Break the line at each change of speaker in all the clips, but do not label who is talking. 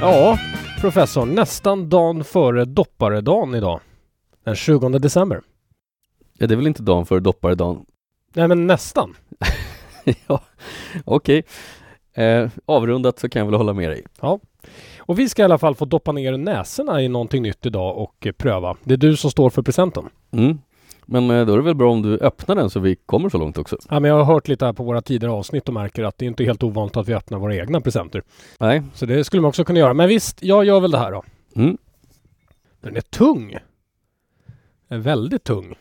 Ja, professor. Nästan dagen före dopparedagen idag. Den 20 december.
Ja, det är väl inte dagen före dopparedagen?
Nej, men nästan.
ja, okej. Eh, avrundat så kan jag väl hålla med dig.
Och vi ska i alla fall få doppa ner näsorna i någonting nytt idag och eh, pröva. Det är du som står för presenten.
Mm. Men eh, då är det väl bra om du öppnar den så vi kommer så långt också?
Ja, men jag har hört lite här på våra tidigare avsnitt och märker att det är inte helt ovanligt att vi öppnar våra egna presenter.
Nej.
Så det skulle man också kunna göra. Men visst, jag gör väl det här då.
Mm.
Den är tung. Den är väldigt tung.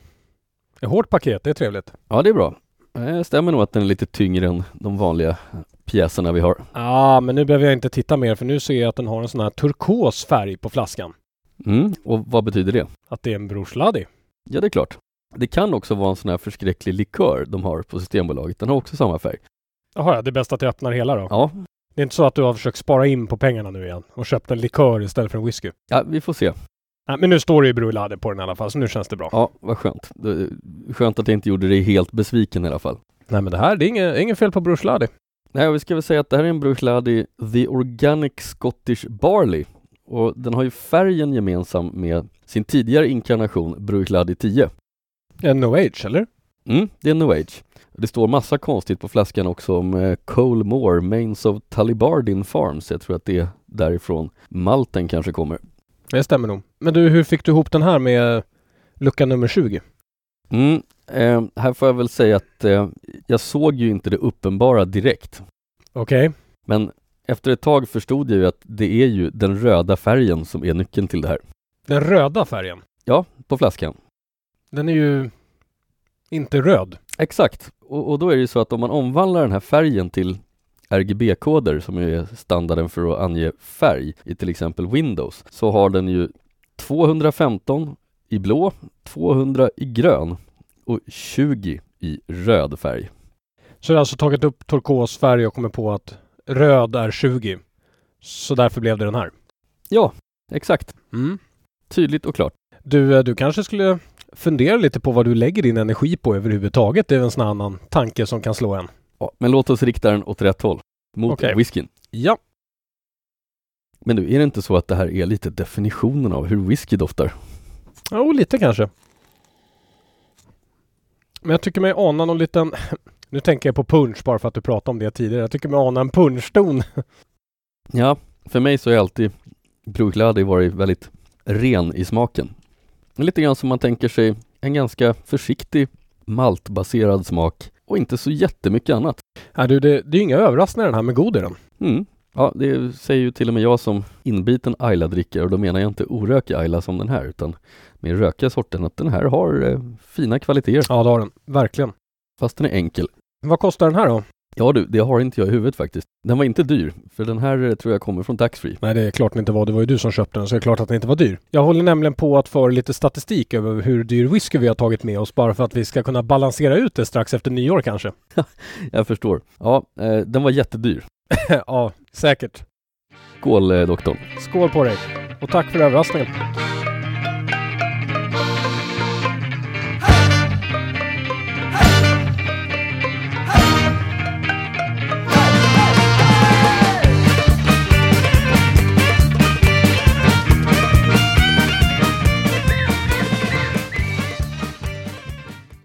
Ett hårt paket, det är trevligt.
Ja, det är bra. Eh, stämmer nog att den är lite tyngre än de vanliga pjäserna vi har.
Ja, men nu behöver jag inte titta mer för nu ser jag att den har en sån här turkos färg på flaskan.
Mm. Och vad betyder det?
Att det är en Brors Laddie.
Ja, det är klart. Det kan också vara en sån här förskräcklig likör de har på Systembolaget. Den har också samma färg.
Jaha, ja, det är bäst att jag öppnar hela då.
Ja,
Det är inte så att du har försökt spara in på pengarna nu igen och köpt en likör istället för en whisky?
ja vi får se.
Nej, men nu står det ju Bror Laddie på den i alla fall, så nu känns det bra.
Ja, vad skönt. Det- Skönt att jag inte gjorde dig helt besviken i alla fall.
Nej, men det här, det är inget, inget fel på Brors Laddie.
Nej, vi ska väl säga att det här är en Bruichladi The Organic Scottish Barley och den har ju färgen gemensam med sin tidigare inkarnation Bruichladi 10.
En No Age, eller?
Mm, det är New Age. Det står massa konstigt på flaskan också om eh, Cole Moore, Mains of Talibardin Farms. Jag tror att det är därifrån malten kanske kommer.
Det stämmer nog. Men du, hur fick du ihop den här med lucka nummer 20?
Mm, eh, här får jag väl säga att eh, jag såg ju inte det uppenbara direkt.
Okej.
Men efter ett tag förstod jag ju att det är ju den röda färgen som är nyckeln till det här.
Den röda färgen.
Ja, på flaskan.
Den är ju inte röd.
Exakt. Och, och då är det ju så att om man omvandlar den här färgen till RGB-koder som ju är standarden för att ange färg i till exempel Windows så har den ju 215 i blå, 200 i grön och 20 i röd färg.
Så jag har alltså tagit upp turkos färg och kommit på att röd är 20. Så därför blev det den här.
Ja, exakt.
Mm.
Tydligt och klart.
Du, eh, du kanske skulle fundera lite på vad du lägger din energi på överhuvudtaget. Det är väl en sån här annan tanke som kan slå en.
Ja, men låt oss rikta den åt rätt håll, mot
Okej.
whiskyn.
Ja.
Men du, är det inte så att det här är lite definitionen av hur whisky doftar?
Jo, lite kanske. Men jag tycker mig ana någon liten... Nu tänker jag på punch bara för att du pratade om det tidigare. Jag tycker mig ana en punchton.
Ja, för mig så har alltid Bruichladdie varit väldigt ren i smaken. Lite grann som man tänker sig en ganska försiktig maltbaserad smak och inte så jättemycket annat.
Nej du, det, det är ju inga överraskningar den här med god i den.
Mm. Ja, det säger ju till och med jag som inbiten Ayla-drickare och då menar jag inte orökig Ayla som den här utan mer rökiga sorten att den här har eh, fina kvaliteter
Ja, det har den. Verkligen.
fast den är enkel.
Vad kostar den här då?
Ja du, det har inte jag i huvudet faktiskt. Den var inte dyr, för den här eh, tror jag kommer från Taxfree.
Nej, det är klart den inte var. Det var ju du som köpte den, så det är klart att den inte var dyr. Jag håller nämligen på att föra lite statistik över hur dyr whisky vi har tagit med oss bara för att vi ska kunna balansera ut det strax efter nyår kanske.
Jag förstår. Ja, eh, den var jättedyr.
ja, säkert.
Skål eh, doktorn.
Skål på dig! Och tack för överraskningen.